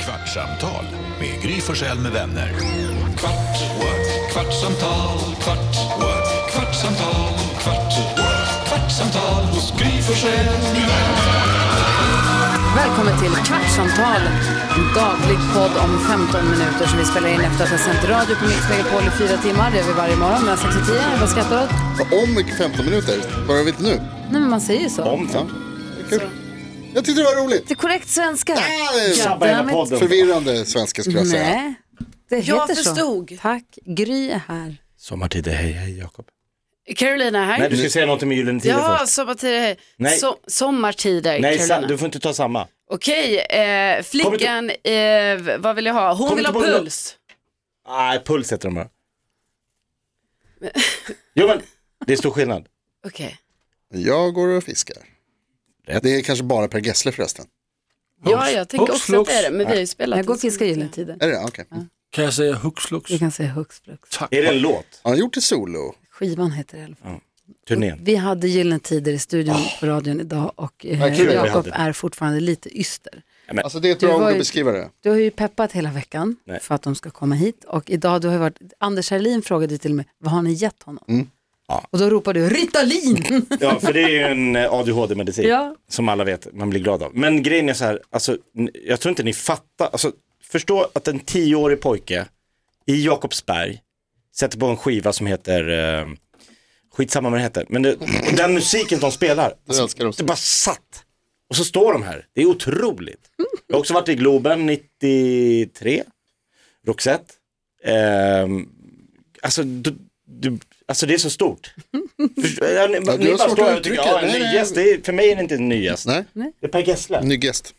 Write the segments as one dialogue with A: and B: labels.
A: Kvartsamtal med Gry Forssell med vänner. Kvart, what? kvartsamtal, kvart, what? kvartsamtal, kvart, what? kvartsamtal hos Gry Forssell med vänner.
B: Välkommen till Kvartsamtal, en daglig podd om 15 minuter som vi spelar in efter att ha sänt radio på Mix Megapol i fyra timmar. Det gör vi varje morgon mellan 6 och 10. Vad skrattar du åt?
C: Om 15 minuter, börjar vi inte nu?
B: Nej, men man säger ju så.
C: Om ja. Kul. Jag tyckte det var roligt.
B: Det är korrekt svenska.
C: Ja,
B: Damn it.
C: Förvirrande svenska skulle jag säga.
B: Nej, det heter
D: Jag
B: så.
D: förstod.
B: Tack. Gry är här.
E: Sommartider, hej hej Jakob.
D: Carolina här.
E: Nej du ska säga något om Gyllene Tider
D: ja,
E: först.
D: sommartider. hej.
E: Nej.
D: So sommartider,
E: Nej, sa,
D: Carolina.
E: du får inte ta samma.
D: Okej, eh, flickan, eh, vad vill jag ha? Hon
E: Kom
D: vill ha
E: inte på-
D: puls.
E: Nej, puls heter de här. Jo men, det är stor skillnad.
D: Okej.
C: Jag går och fiskar.
E: Rätt.
C: Det är kanske bara Per Gessle förresten.
D: Ja, jag tänker också att det är det, men vi har ju spelat
B: Jag går och
D: en stund.
B: fiskar gyllene tider.
C: Är det det? Okej.
F: Kan jag säga hux flux?
B: Vi kan säga hux flux.
E: Är det en låt?
C: Har han gjort det solo?
B: Skivan heter det i alla fall.
E: Turnén?
B: Vi hade gyllene tider i studion på radion idag och
C: Vad
B: eh,
C: kul att vi
B: Jakob
E: hade det.
B: är fortfarande lite yster.
C: Alltså det är ett
B: Du
C: bra
B: var
C: ord att
B: ju-
C: beskriva det.
B: Du har ju peppat hela veckan
E: Nej.
B: för att de ska komma hit och idag du har ju varit, Anders Herlin frågade ju till mig, vad har ni gett honom?
E: Mm. Ja.
B: Och då ropade du Ritalin!
E: Ja, för det är ju en eh, ADHD-medicin.
B: Ja.
E: Som alla vet, man blir glad av. Men grejen är så här, alltså, n- jag tror inte ni fattar. Alltså, förstå att en tioårig pojke i Jakobsberg sätter på en skiva som heter, eh, skitsamma vad den heter, men det, och den musiken de spelar,
C: Jag älskar
E: det
C: också.
E: bara satt. Och så står de här, det är otroligt. Jag har också varit i Globen 93, Roxette. Ehm, alltså, du, du, alltså det är så stort. Förstår- ja, ni,
C: har
E: ni bara
C: svårt
E: står
C: att
E: här och tycker,
C: uttrycka
E: ja, en
C: det.
E: ny
C: Nej,
E: gäst, det är, för mig är det inte en ny gäst.
C: Nej,
E: Det är Per Gessle.
C: ny gäst.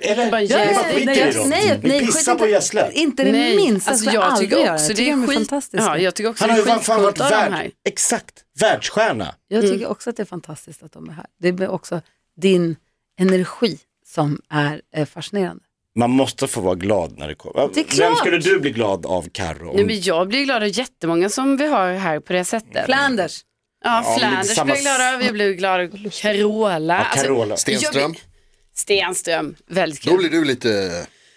E: Eller?
D: Bara en
E: Det är
D: gäst.
E: bara skiter
B: nej,
E: i dem.
B: nej,
E: Vi
B: nej,
E: pissar
B: skit
E: på
B: inte-
E: Gessle.
B: Inte det minsta,
D: alltså,
B: skulle jag
D: jag
B: aldrig
D: tycker
B: göra.
D: också
B: Jag
D: det
B: tycker de
D: är
B: är
D: skit.
B: fantastiska.
D: Ja, jag tycker också
E: Han
D: det
E: har
D: är
E: ju fan fan varit
D: skitcoolt av de här.
E: värld, exakt, världsstjärna.
B: Jag tycker
D: mm.
B: också att det är fantastiskt att de är här. Det är också din energi som är eh, fascinerande.
E: Man måste få vara glad när det kommer.
B: Det är klart.
E: Vem skulle du bli glad av Carro?
D: Nej, men jag blir glad av jättemånga som vi har här på det sättet.
B: Flanders.
D: Ja,
E: men det är
D: Flanders
E: samma-
D: blir jag glad av, jag blir glad av Carola. Alltså,
E: Ja, Carola.
C: Stenström.
D: Jag blir- Stenström, väldigt kul.
C: Då blir du lite...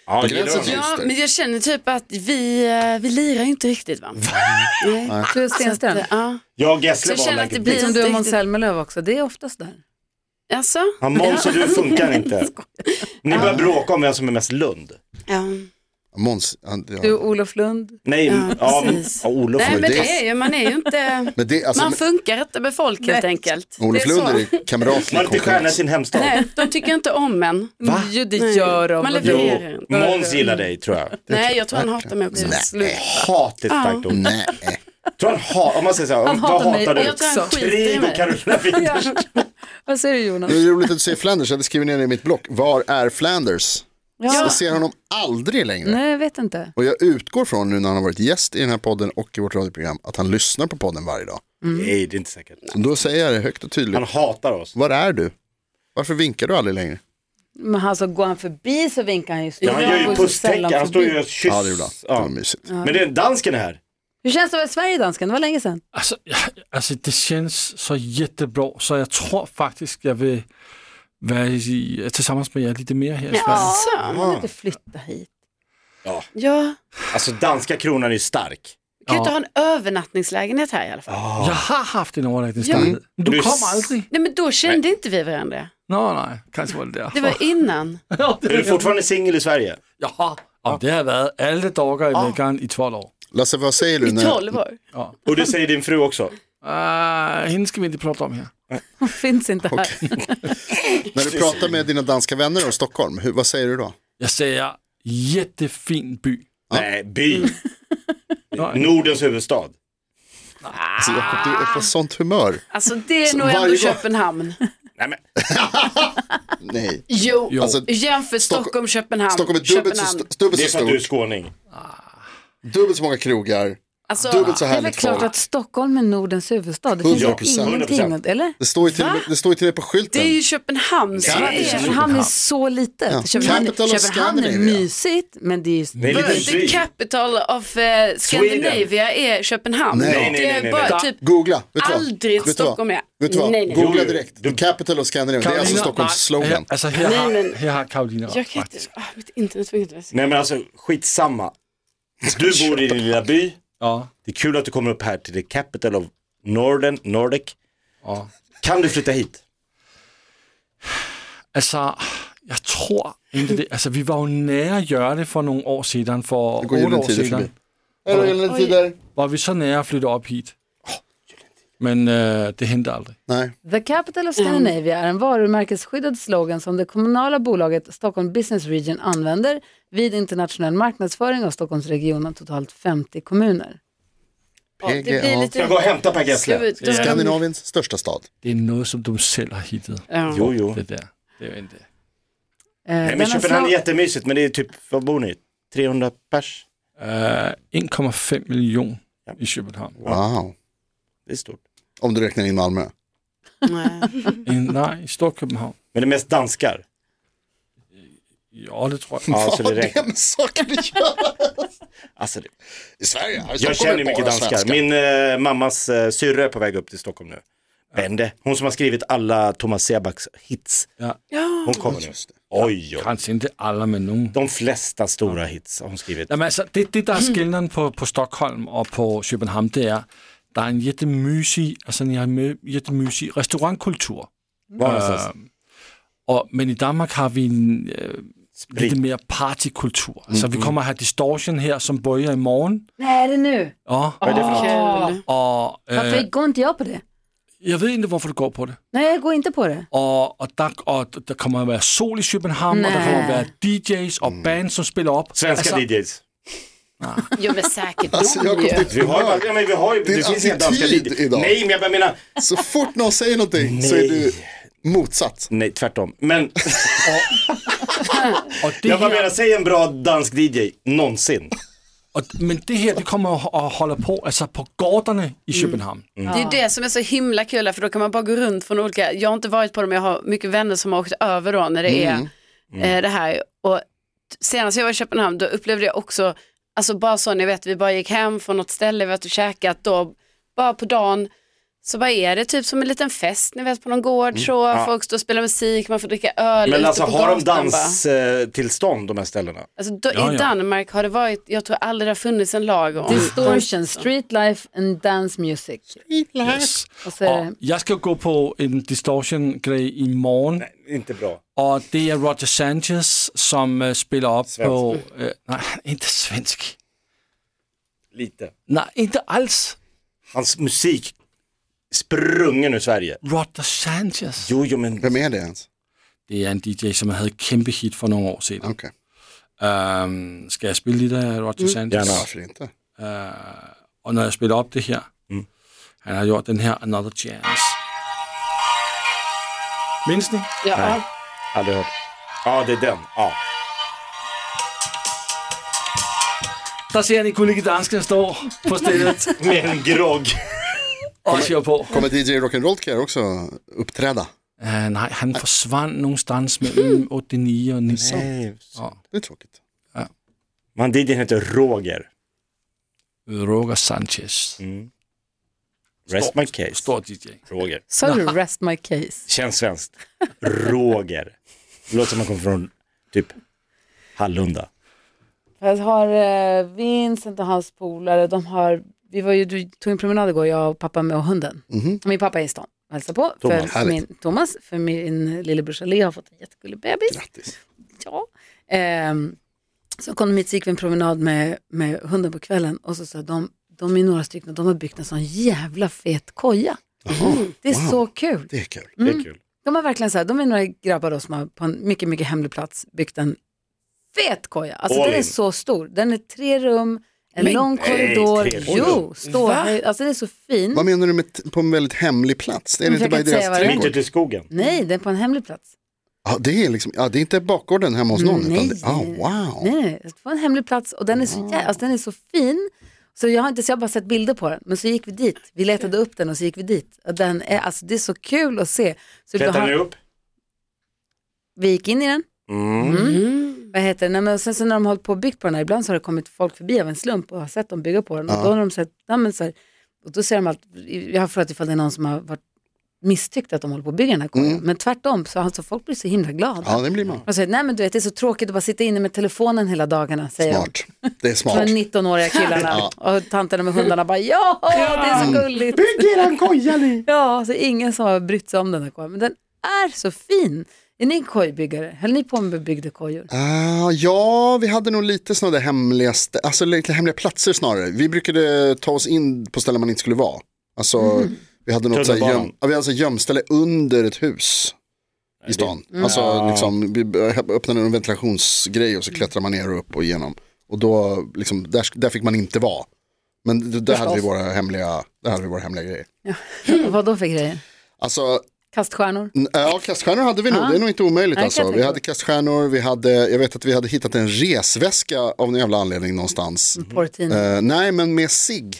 E: Ja,
C: gillar du honom?
D: Ja,
C: Just det.
D: men jag känner typ att vi, eh, vi lirar ju inte riktigt va? Nej.
B: Du är Stenström.
D: Alltså, Det- Ja.
E: Jag och Gessle
D: Jag
E: var
D: känner att det
E: like
D: blir
B: Som du och
D: inte
B: Måns
D: riktigt-
B: Zelmerlöw också, det är oftast där.
D: Alltså?
E: Ja, Måns och du funkar inte. Ni börjar bråka om vem som är mest Lund.
D: Ja.
C: eh, Måns, han, ja.
B: Du och Olof Lund.
E: Nej, ja, men,
D: precis.
E: ja, Olof
D: Nej
E: var
D: men
E: ju
D: det är ju, man är ju inte,
C: Men det, alltså,
D: man funkar inte med folk helt enkelt.
C: men- Olof
D: Det är
C: Lund
D: så.
C: är kamratlig
E: Man är inte stjärna i
C: konkurrens.
E: sin hemstad.
D: Nej, de tycker inte om en.
E: Va?
B: Jo, det gör de.
D: Man
E: Jo,
D: levererar inte.
E: Måns gillar dig tror jag.
D: Nej, jag tror han hatar mig också. Slut.
E: Hat är ett starkt ord.
C: Nej,
E: Tror han ha, om man säger så här,
B: Han
E: vad
B: hatar mig
E: hatar du?
D: Jag tror han skiter i
E: Krig och
D: mig.
E: Carolina Widerström.
B: Vad säger du Jonas?
C: det är roligt att du säger Flanders, jag hade skrivit ner det i mitt block. Var är Flanders?
B: Ja.
C: Jag ser honom aldrig längre.
B: Nej, jag vet inte.
C: Och jag utgår från nu när han har varit gäst i den här podden och i vårt radioprogram att han lyssnar på podden varje dag.
E: Nej, det är inte säkert.
C: Så då säger jag det högt och tydligt.
E: Han hatar oss.
C: Var är du? Varför vinkar du aldrig längre?
B: Men alltså, går han förbi så vinkar han ju.
E: Ja, han gör ju
B: Går så
E: pusstecken,
B: sällan
E: han står ju
B: förbi.
E: och kyss.
C: Ja, det gjorde han. Det var mysigt.
E: Men det är dansken är här.
B: Hur känns det att vara i Sverige dansken? Det var länge sedan.
F: Alltså, alltså det känns så jättebra så jag tror faktiskt jag vill vara i, tillsammans med er lite mer här i Sverige.
B: Man kan inte flytta hit.
D: Ja,
E: Alltså danska kronan är stark.
D: kan ju inte ha en övernattningslägenhet här i alla fall.
F: Jag har haft en överläggningsdag. Du
E: Du
F: kom
E: s-
F: aldrig.
D: Nej men då kände inte vi varandra.
F: Nej, nej, kanske var det där.
D: Det var innan.
F: ja,
E: Är du fortfarande singel i Sverige?
F: ja, och det har varit alla dagar i veckan i 12 år.
C: Lasse, vad säger du?
D: I
C: När...
D: 12 år.
E: Och det säger din fru också.
F: Uh, henne ska vi inte prata om här.
B: Hon finns inte här.
C: När du pratar med dina danska vänner om Stockholm, hur, vad säger du då?
F: Jag säger jättefin by.
E: Nej, by.
F: Ja.
E: Nordens huvudstad.
C: Alltså, Jakob, du är på sånt humör.
D: Alltså det är nog
C: varje
D: ändå
C: gång-
D: Köpenhamn.
E: Nej, men,
C: Nej.
D: Jo,
F: Jo.
C: Alltså,
D: jämför Stockholm, Köpenhamn.
C: Stockholm är dubbelt så,
D: Köpenhamn.
C: st- dubbelt
E: det
C: så
E: är för att du är
C: stort,
E: skåning.
C: dubbelt så många krogar,
D: Alltså,
C: Dubbelt så
B: Det är väl
C: härligt
B: klart
C: folk.
B: att Stockholm är Nordens huvudstad. Det finns
C: 100%.
B: väl ingenting, att- eller?
C: Det står ju till, och
D: Va?
C: med- det står ju till och med på
D: det
C: skylten.
D: är ju Köpenhamn. så
E: Ja,
D: det är-
B: Köpenhamn är så litet.
C: Ja.
B: Köpenhamn,
C: Capital of
B: Köpenhamn är
C: Scandinavia.
B: mysigt, men det är ju...
E: Det är lite
D: The
E: svin.
D: capital of eh, Scandinavia är Köpenhamn.
C: Nej.
E: Nej, nej,
D: det är
E: nej, nej,
D: bara
E: nej.
D: typ
C: Googla, vet du vad?
D: Aldrig
C: Vet du vad?
D: Stockholm är.
C: Vet du vad?
D: Nej, nej.
C: Googla
E: Jo, jo.
C: direkt. The capital of Scandinavia. Det är alltså Stockholms slogan.
F: Alltså här,
D: Nej,
F: har,
D: men-
F: här har Karolina rätt
D: Jag kan inte,
F: faktiskt.
D: ah, mitt internet funkar inte.
E: Nej men alltså skitsamma. Du bor i din lilla by.
F: Ja,
E: Det är kul att du kommer upp här till the capital of Norden, Nordic.
F: ja.
E: Kan du flytta hit?
F: Altså, jeg tror ikke det. Altså, vi var jo nære at gøre det for nogle år siden, for
C: går
F: otte år
C: Gyllene Tider
F: siden,
C: forbi. Hej då, Gyllene Tider.
F: var vi så nære at flytte op hit. Men øh, det hentede aldrig.
C: Nej.
B: The Capital of Scandinavia är en varumärkesskyddad slogan som det kommunala bolaget Stockholm Business Region använder vid internationell marknadsföring av Stockholmsregionen totalt 50 kommuner.
D: Ja, det blir
C: PGA.
D: lite...
E: Jag går och hämtar Per
D: Ska
E: Gessle.
D: vi- då-
C: Skandinaviens största stad.
F: Det er noget, som du selv har hittet.
D: Ja.
E: Jo, jo.
F: Det der. Det er jo ikke det.
B: Eh,
E: Nej, men
B: denna
E: Köpenhamn är
B: slo-
E: jättemysigt men det är typ, vad bor ni? 300 pers?
F: Øh, 1,5 million
E: Ja.
F: i København.
C: Wow.
E: Det är stort.
C: Om du räknar in Malmö.
D: Nej.
F: En, nej, i stor København.
E: Men det är mest danskar.
F: Ja, det tror jeg.
E: Ja, så
C: Vad har
E: det
C: det
E: räknar.
C: med saker att göra?
E: Alltså, det,
C: I Sverige? här i Stockholm
E: jag känner ju
C: är det
E: mycket
C: bara
E: danskar.
C: svenskar.
E: Min eh, mammas eh, syrra är på väg upp till Stockholm nu. Bende, hon som har skrivit alla Thomas Sebaks hits.
F: Ja.
E: Hon kommer nu. Oj, oj.
F: Kanskje ikke alle med nogen.
E: De flesta stora hits har hon skrivit.
F: Jamen altså, det, det der er skillnaden på, på Stockholm og på København, det er, der er en jättemysig, altså en jæmme- jättemysig restaurantkultur.
E: Var någonstans?
F: Og, men i Danmark har vi en øh,
E: Sprit.
F: lidt mere partykultur. Altså, vi kommer at have distortion her, som bøjer i morgen.
B: Nej, är det nu?
F: Og,
E: Vad är det för något?
D: Kul.
F: og øh,
B: Varför går inte jag på det?
F: jeg ved ikke, hvorfor du går på det.
B: Nej, jag går inte på det.
F: Og, og, der, og der kommer at være sol i København, og der
B: Nej.
F: kommer at være DJ's og bands, som spiller op.
E: Svenska DJs.
D: Jo men säkert
C: Alltså jag
D: någon
C: kom
D: ju.
C: till ett
E: Vi har,
C: humör.
E: ja, men vi har ju,
C: Din
E: det finns inga danska
C: attityd
E: DJs.
C: idag.
E: Nej, men jag bara menar,
C: Så fort någon säger någonting så är du motsatt.
E: nej tvärtom. Men
F: Og det
E: jag bara
F: her-
E: menar, säg en bra dansk DJ någonsin.
F: Og, men det her, det kommer jo og holder på, alltså på gårderne i
E: Mm.
F: København.
D: Det är ju det som är så himla kul här, för då kan man bara gå runt från olika, jag har inte varit på dem, jag har mycket vänner som har åkt över då när
E: Mm.
D: det är eh, det här. Och t- senast jag var i Köpenhamn då upplevde jag också, alltså bara så ni vet, vi bara gick hem från något ställe, vi var ute och käkat då, bara på dagen så bara är det typ som en liten fest, ni vet på någon gård så, folk står och spelar musik, man får dricka öl
E: Mm. Men
D: ute
E: alltså
D: på
E: har de
D: gatan bara.
E: danstillstånd de här ställena?
D: Alltså, då,
F: Ja,
D: I
F: ja.
D: Danmark har det varit, jag tror aldrig det har funnits en lag om
B: Distortion, street life and dance music.
F: Yes.
B: Och så är
F: Og
B: det...
F: jeg skal jo gå på en distortion-grej i morgen,
E: Inte bra.
F: og det er Roger Sanchez, som øh, spiller op på... Øh, nej, ikke svensk.
E: Lite.
F: Nej, ikke alls.
E: Hans musik sprungen ur Sverige.
F: Roger Sanchez.
E: Jo, jo, men
C: Vem är det ens?
F: Det er en DJ, som havde et kæmpe hit for nogle år siden.
C: Okej,
F: Øhm, skal jeg spille lidt af Roger Sanchez?
E: Mm. Gerne.
C: varför inte?
F: Øh, og når jeg spiller op det her,
E: Mm.
F: han har gjort den her Another Chance. Mindes ni?
D: Ja,
E: aldrig hört. Ja, det är den. Ja.
F: Der ser jeg en kollega dansker stå på stedet
E: Med en grogg.
F: og kigger på.
C: Kommer DJ Rock'n'Roll Care också uppträda?
F: Uh, nej, han forsvandt nogenstans mellem 8, 9 og 9.
C: Det är tråkigt.
E: Man, DJn heter Roger.
F: Roger Sanchez.
E: Rest my case.
F: Stor DJ.
E: Roger.
B: Sa du rest my case?
E: Känns svenskt. Roger. Det låter som man kommer från typ Hallunda.
B: För jag har eh, Vincent och hans polare, de har, vi var ju, du tog en promenad igår, jag och pappa med och hunden. Min pappa är i stan och hälsar på.
E: Thomas,
B: för
C: härligt.
B: min, Thomas, för min lillebrorsa Leo har fått en jättegullig bebis.
C: Grattis.
B: Ja. Ehm, så kom de hit, så gick vi en promenad med, med hunden på kvällen och så sa de, de är några stycken och de har byggt en sån jävla fet koja. Det är så kul.
C: Det är kul.
E: Det är kul.
B: De har verkligen så här, de är några grabbar då som har på en mycket, mycket hemlig plats byggt en fet koja. Alltså
E: All
B: den är
E: in.
B: så stor. Den är tre rum, en lång korridor.
E: tre rum.
B: jo, står
D: Va?
B: Alltså den är så fin.
C: Vad menar du med t- på en väldigt hemlig plats? Det är
B: Men
C: det
B: jag
C: inte
B: kan inte
C: bara i deras
B: säga vad det är.
E: Mitt
C: trädgård?
E: ute i skogen.
B: Nej, den är på en hemlig plats.
C: Ja, det är liksom, ja, det är inte bakgården hemma hos någon.
B: Nej.
C: Utan det, ah, wow.
B: Nej, nej, nej. På en hemlig plats och den är så, jä- alltså, den är så fin. Så jag har inte, så jag har bara sett bilder på den. Men så gick vi dit, vi letade upp den och så gick vi dit. Och den är, alltså det är så kul att se. Så du
E: Klättrar
B: har-
E: ni upp?
B: Vi gick in i den,
E: Mm.
B: vad heter det? Nej, men och sen så när de har hållit på och byggt på den här, ibland så har det kommit folk förbi av en slump och har sett dem bygga på den. Och då har de sett, nej, men så här, och då ser de allt, jag har frågat ifall det är någon som har varit misstyckt att de håller på att bygga den här korgen. Men tvärtom, så alltså, folk blir så himla glada.
C: Mm. Ja, det blir man.
B: De säger, nej men du vet det är så tråkigt att bara sitta inne med telefonen hela dagarna, säger de.
C: Smart. Det är
B: De
C: smart.
B: 19-åriga killarna och tanterna med hundarna bara ja, det är så gulligt.
E: Bygg er en koja ni!
B: Ja, så ingen som har brytt sig om den här kojan. Men den är så fin. Är ni kojbyggare? Höll ni på med byggde kojor?
C: Ah, ja, vi hade nog lite sådana där hemliga, st- alltså lite hemliga platser snarare. Vi brukade ta oss in på ställen man inte skulle vara. Alltså, vi hade något så här
E: Tunnelbanan.
C: göm- ja, vi hade så här gömställe under ett hus i stan. Alltså, liksom, vi öppnade en ventilationsgrej och så klättrar man ner och upp och igenom. Och då, liksom, där, sk- där fick man inte vara. Men d- där hade, vi våra hemliga, där hade vi våra hemliga grejer.
B: Och vad då för grejer?
C: Alltså,
B: Kaststjärnor?
C: N- Ja, kaststjärnor hade vi nog. Det är nog inte omöjligt
B: Nej, det kan
C: alltså.
B: jag
C: Vi
B: tänka
C: hade kaststjärnor, vi hade, jag vet att vi hade hittat en resväska av någon jävla anledning någonstans.
B: Porrtidning?
C: Eh, nej, men med sig.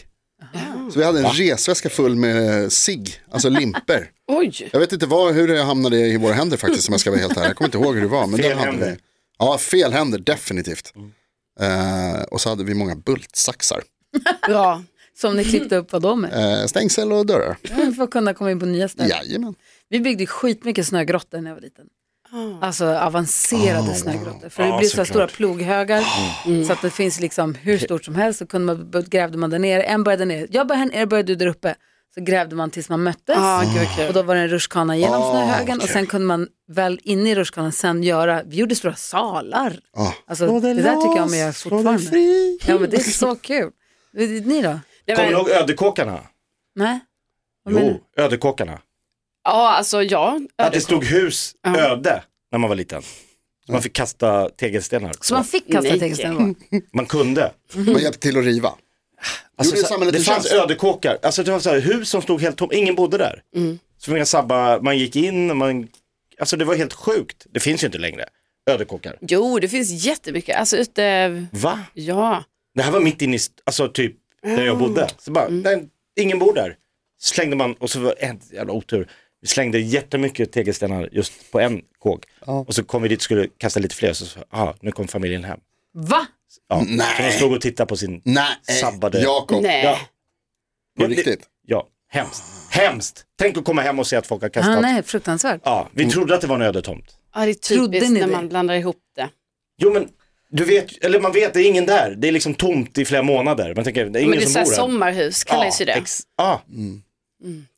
C: Så vi hade en resväska full med sig, alltså limper.
D: Oj,
C: Jag vet inte vad, hur det hamnade i våra händer faktiskt om jag ska vara helt ärlig. Jag kommer inte ihåg hur det var. Men
E: Fel
C: den hade
E: händer. Mm.
C: Vi. Ja, fel händer, definitivt. Eh, och så hade vi många bultsaxar.
D: bra.
B: Som ni klippte upp vad då med?
C: Eh, stängsel och dörrar.
B: För att kunna komma in på nya ställen.
C: Jajamän.
B: Vi byggde skitmycket snögrottor när jag var liten. Alltså avancerade
C: Ah.
B: snögrottor. För det
E: Ja,
B: blir så här stora
E: såklart.
B: ploghögar. Så att det finns liksom hur stort som helst. Så kunde man, grävde man där nere. En började ner. Jag började här nere, började du där uppe. Så grävde man tills man möttes.
D: Ja, gud vad
B: Och
D: kul.
B: då var det en rutschkana genom
C: Ah,
B: snöhögen och sen kunde man väl in i rutschkanan sen göra, vi gjorde stora salar.
C: Ah.
B: Alltså, det där tycker jag om jag gör fortfarande. Ja men det är så kul. Ni då?
D: Nej,
E: Kommer
D: men,
E: du ihåg ödekåkarna?
B: Nej? Vad menar
E: Jo,
B: du?
E: ödekåkarna.
D: ja, alltså ja.
E: Att det stod hus öde när man var liten. Så man fick kasta tegelstenar.
B: Så man fick kasta
D: Nej.
B: tegelstenar?
E: Man kunde.
C: Man hjälpte till att riva.
E: Alltså,
C: Gjorde
E: så-
C: samhället
E: det
C: en
E: fanns
C: tjänst?
E: ödekåkar. Alltså det var så här, hus som stod helt tomt, ingen bodde där.
C: Mm.
E: Så man, sabba, man gick in och man, alltså det var helt sjukt. Det finns ju inte längre, ödekåkar.
D: Jo, det finns jättemycket. Alltså ute,
E: Va?
D: ja.
E: Det här var mitt inne i, st- alltså typ där jag
C: Ah.
E: bodde. Så bara,
C: Mm.
E: nej, ingen bor där. Så slängde man, och så var en jävla otur. Vi slängde jättemycket tegelstenar just på en kåk. Och så kom vi dit och skulle kasta lite fler, så sa ah, nu kom familjen hem.
B: Va?
E: Ja.
C: Nej.
E: Så de stod och tittade på sin,
C: Nej, eh,
E: Sabbade.
C: Jakob.
D: Nej.
E: ja,
C: På
E: Ja, det-
C: riktigt.
E: ja, hemskt, hemskt. Tänk att komma hem och se att folk har kastat.
B: Ah, nej, fruktansvärt.
E: Ja, vi trodde att det var en ödetomt.
D: Ja, det är
B: Trodde
D: typiskt
B: ni
D: när
B: det?
D: man blandar ihop det.
E: Jo men, du vet, eller man vet, det är ingen där. Det är liksom tomt i flera månader. Man tänker, det är
D: Men
E: ingen
D: det är
E: som bor
D: såhär
E: här.
D: sommarhus kallas ju det.
E: ex- Ja,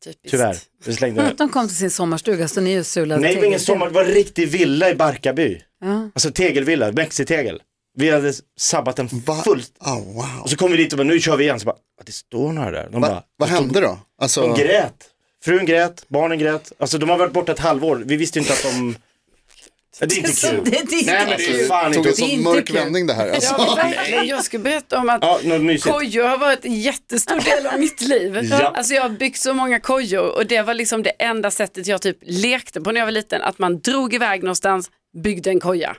D: Typiskt.
E: tyvärr. Vi slängde den.
B: De kom till sin sommarstuga så ni och sulade
E: Nej, det var ingen sommar, det var en riktig villa i Barkarby.
B: Ja.
E: Alltså tegelvilla, mexitegel. Vi hade sabbat den fullt.
C: Ah, wow.
E: Och så kom vi dit och bara, nu kör vi igen. Så bara, "Ah, det står några där. De bara,
C: Va, vad hände då? Alltså,
E: de grät. Frun grät, barnen grät. Alltså de har varit borta ett halvår. Vi visste inte att de... Ja, Det är inte kul.
B: Det är
E: Nej men
B: inte
E: det är
B: kul.
E: fan
C: tog
E: inte
B: Det är
C: en
E: okej.
C: sån
B: inte Mm.
C: mörk
B: kul.
C: vändning det här. Alltså.
D: Ja, verkligen. Jag skulle berätta om att
E: Ja, något mysigt.
D: kojor har varit en jättestor del av mitt liv.
E: Ja.
D: Alltså jag har byggt så många kojor och det var liksom det enda sättet jag typ lekte på när jag var liten. Att man drog iväg någonstans, byggde en koja.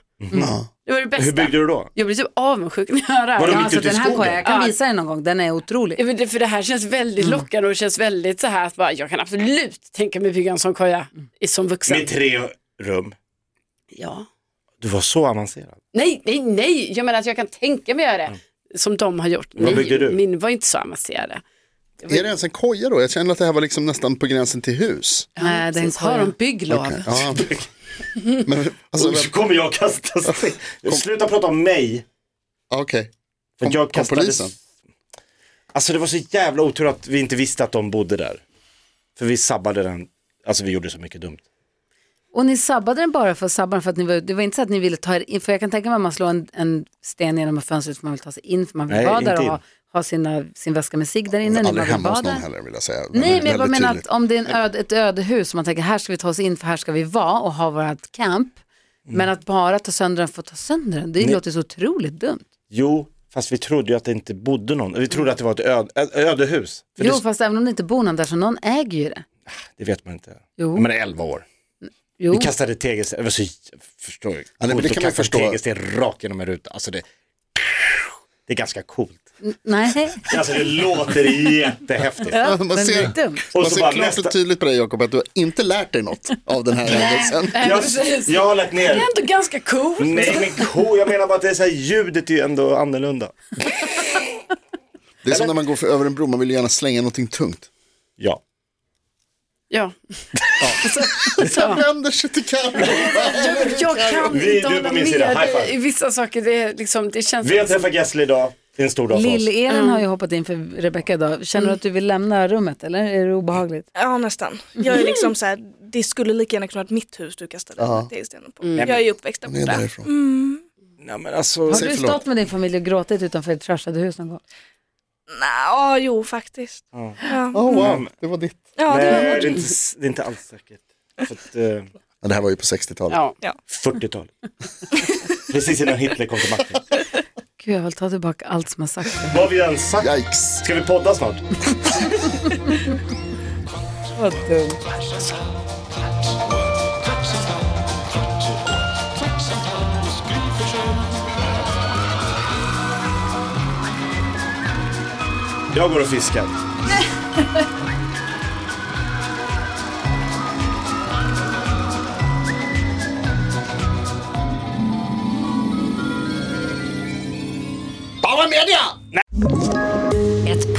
D: Det var det bästa.
E: Hur byggde du då?
D: Jag blev typ avundsjuk när jag hör det här.
E: Var det
D: Ja,
E: mitt
B: Alltså
E: ute i
B: den här
E: skogen?
B: kojan, jag kan
D: Ja.
B: visa er någon gång, den är otrolig.
D: Ja, men det- För det här känns väldigt
E: Mm.
D: lockande och det känns väldigt så här att bara, jag kan absolut tänka mig bygga en sån koja
E: Mm.
D: i- som vuxen.
E: Med tre rum.
D: Ja.
E: Du var så avancerad.
D: Nej, nej, nej, jag menar att jag kan tänka mig göra det som de har gjort. nej,
E: byggde Mm. du?
D: Min var inte så avancerade.
C: Är det ens en koja då? Jag känner att det här var liksom nästan på gränsen till hus.
B: Nej, Eh, den
D: Precis, har de
B: kojan.
D: bygglov?
C: Ja. Men, alltså,
E: Och så kommer jag kasta sten. Sluta prata om mig.
C: ja, ah, Okej,
E: För
C: Kom-
E: jag
C: kom polisen?
E: Alltså det var så jävla otur att vi inte visste att de bodde där. För vi sabbade den. Alltså vi gjorde så mycket dumt.
B: Och ni sabbade den bara för att sabba den för att ni var, det var inte så att ni ville ta er in, för jag kan tänka mig att man slår en, en sten genom ett fönster för man vill ta sig in för man vill
E: Nej,
B: vara där
E: inte
B: och
E: in.
B: ha, ha sina, sin väska med sig där inne. när man
C: aldrig
B: vill
C: hemma
B: vara
C: hos någon
B: där.
C: heller vill jag säga.
B: Nej, men jag bara
C: Väldigt
B: menar att
C: tydligt.
B: om det är en öde, ett ödehus och man tänker här ska vi ta oss in för här ska vi vara och ha vårt camp.
E: Mm.
B: Men att bara ta sönder den för att ta sönder den, det låter så otroligt dumt.
E: Jo, fast vi trodde ju att det inte bodde någon. Vi trodde att det var ett öde, ett ödehus. För
B: jo,
E: det,
B: fast även om det inte bor någon där så någon äger ju det.
E: det vet man inte.
B: Jo.
E: Man är 11 år.
B: Jo.
E: Vi kastade tegelsten. Det var så, förstår du?
C: men det
E: Coolt att
C: kan man
E: kasta en
C: förstå.
E: Tegelsten rakt genom en ruta. Alltså det, Det är ganska coolt.
B: Nej,
E: Alltså det låter jättehäftigt.
B: ja,
C: Man
B: men det
C: ser-
B: är dumt.
E: Och
C: Man
E: så bara
C: ser klart
E: nästa-
C: och tydligt på dig Jakob att du har inte lärt dig något av den här händelsen.
E: Jag, jag har lagt ner.
D: ändå ganska cool.
E: Nej men ko, jag menar bara att det är så här, ljudet är ju ändå annorlunda.
C: Det är som när man går för över en bro, man vill gärna slänga någonting tungt.
E: Ja.
D: Ja.
C: Man vänder sig till Carro.
B: Mm.
D: Jag, jag kan
E: Vi-
D: inte
E: du är på
D: hålla
E: min sida. High
D: med
E: five.
D: i vissa saker. Det, är liksom, det känns
E: Vi har träffat Gessle idag. Det är en stor dag för oss.
B: Lill-Elin har ju hoppat in för Rebecca idag. Känner du att du vill lämna rummet eller är det obehagligt?
G: Ja nästan. Jag är liksom så här, det skulle lika gärna kunna varit mitt hus du kastade uh tegelstenen på. Jag är ju uppväxt där
C: Hon är
G: borta.
C: därifrån.
E: Nej, men alltså,
B: Har
C: Säg
B: du
C: förlåt.
B: stått med din familj och gråtit utanför ett trashade hus någon gång?
G: Ja, jo faktiskt.
C: Oh, wow, det var ditt.
G: Ja,
E: nej,
G: det
E: det,
G: var
E: är inte, s- det är inte alls säkert. För att, eh,
C: Ja, det här var ju på 60-talet.
D: Ja.
E: 40-talet. Precis innan Hitler kom till makten.
B: Gud, jag vill ta tillbaka allt som har sagts.
E: Vad har vi än sagt?
C: Yikes.
E: Ska vi podda snart?
B: Vad dumt.
E: Jag går och fiskar.
C: Bara media!
H: Ett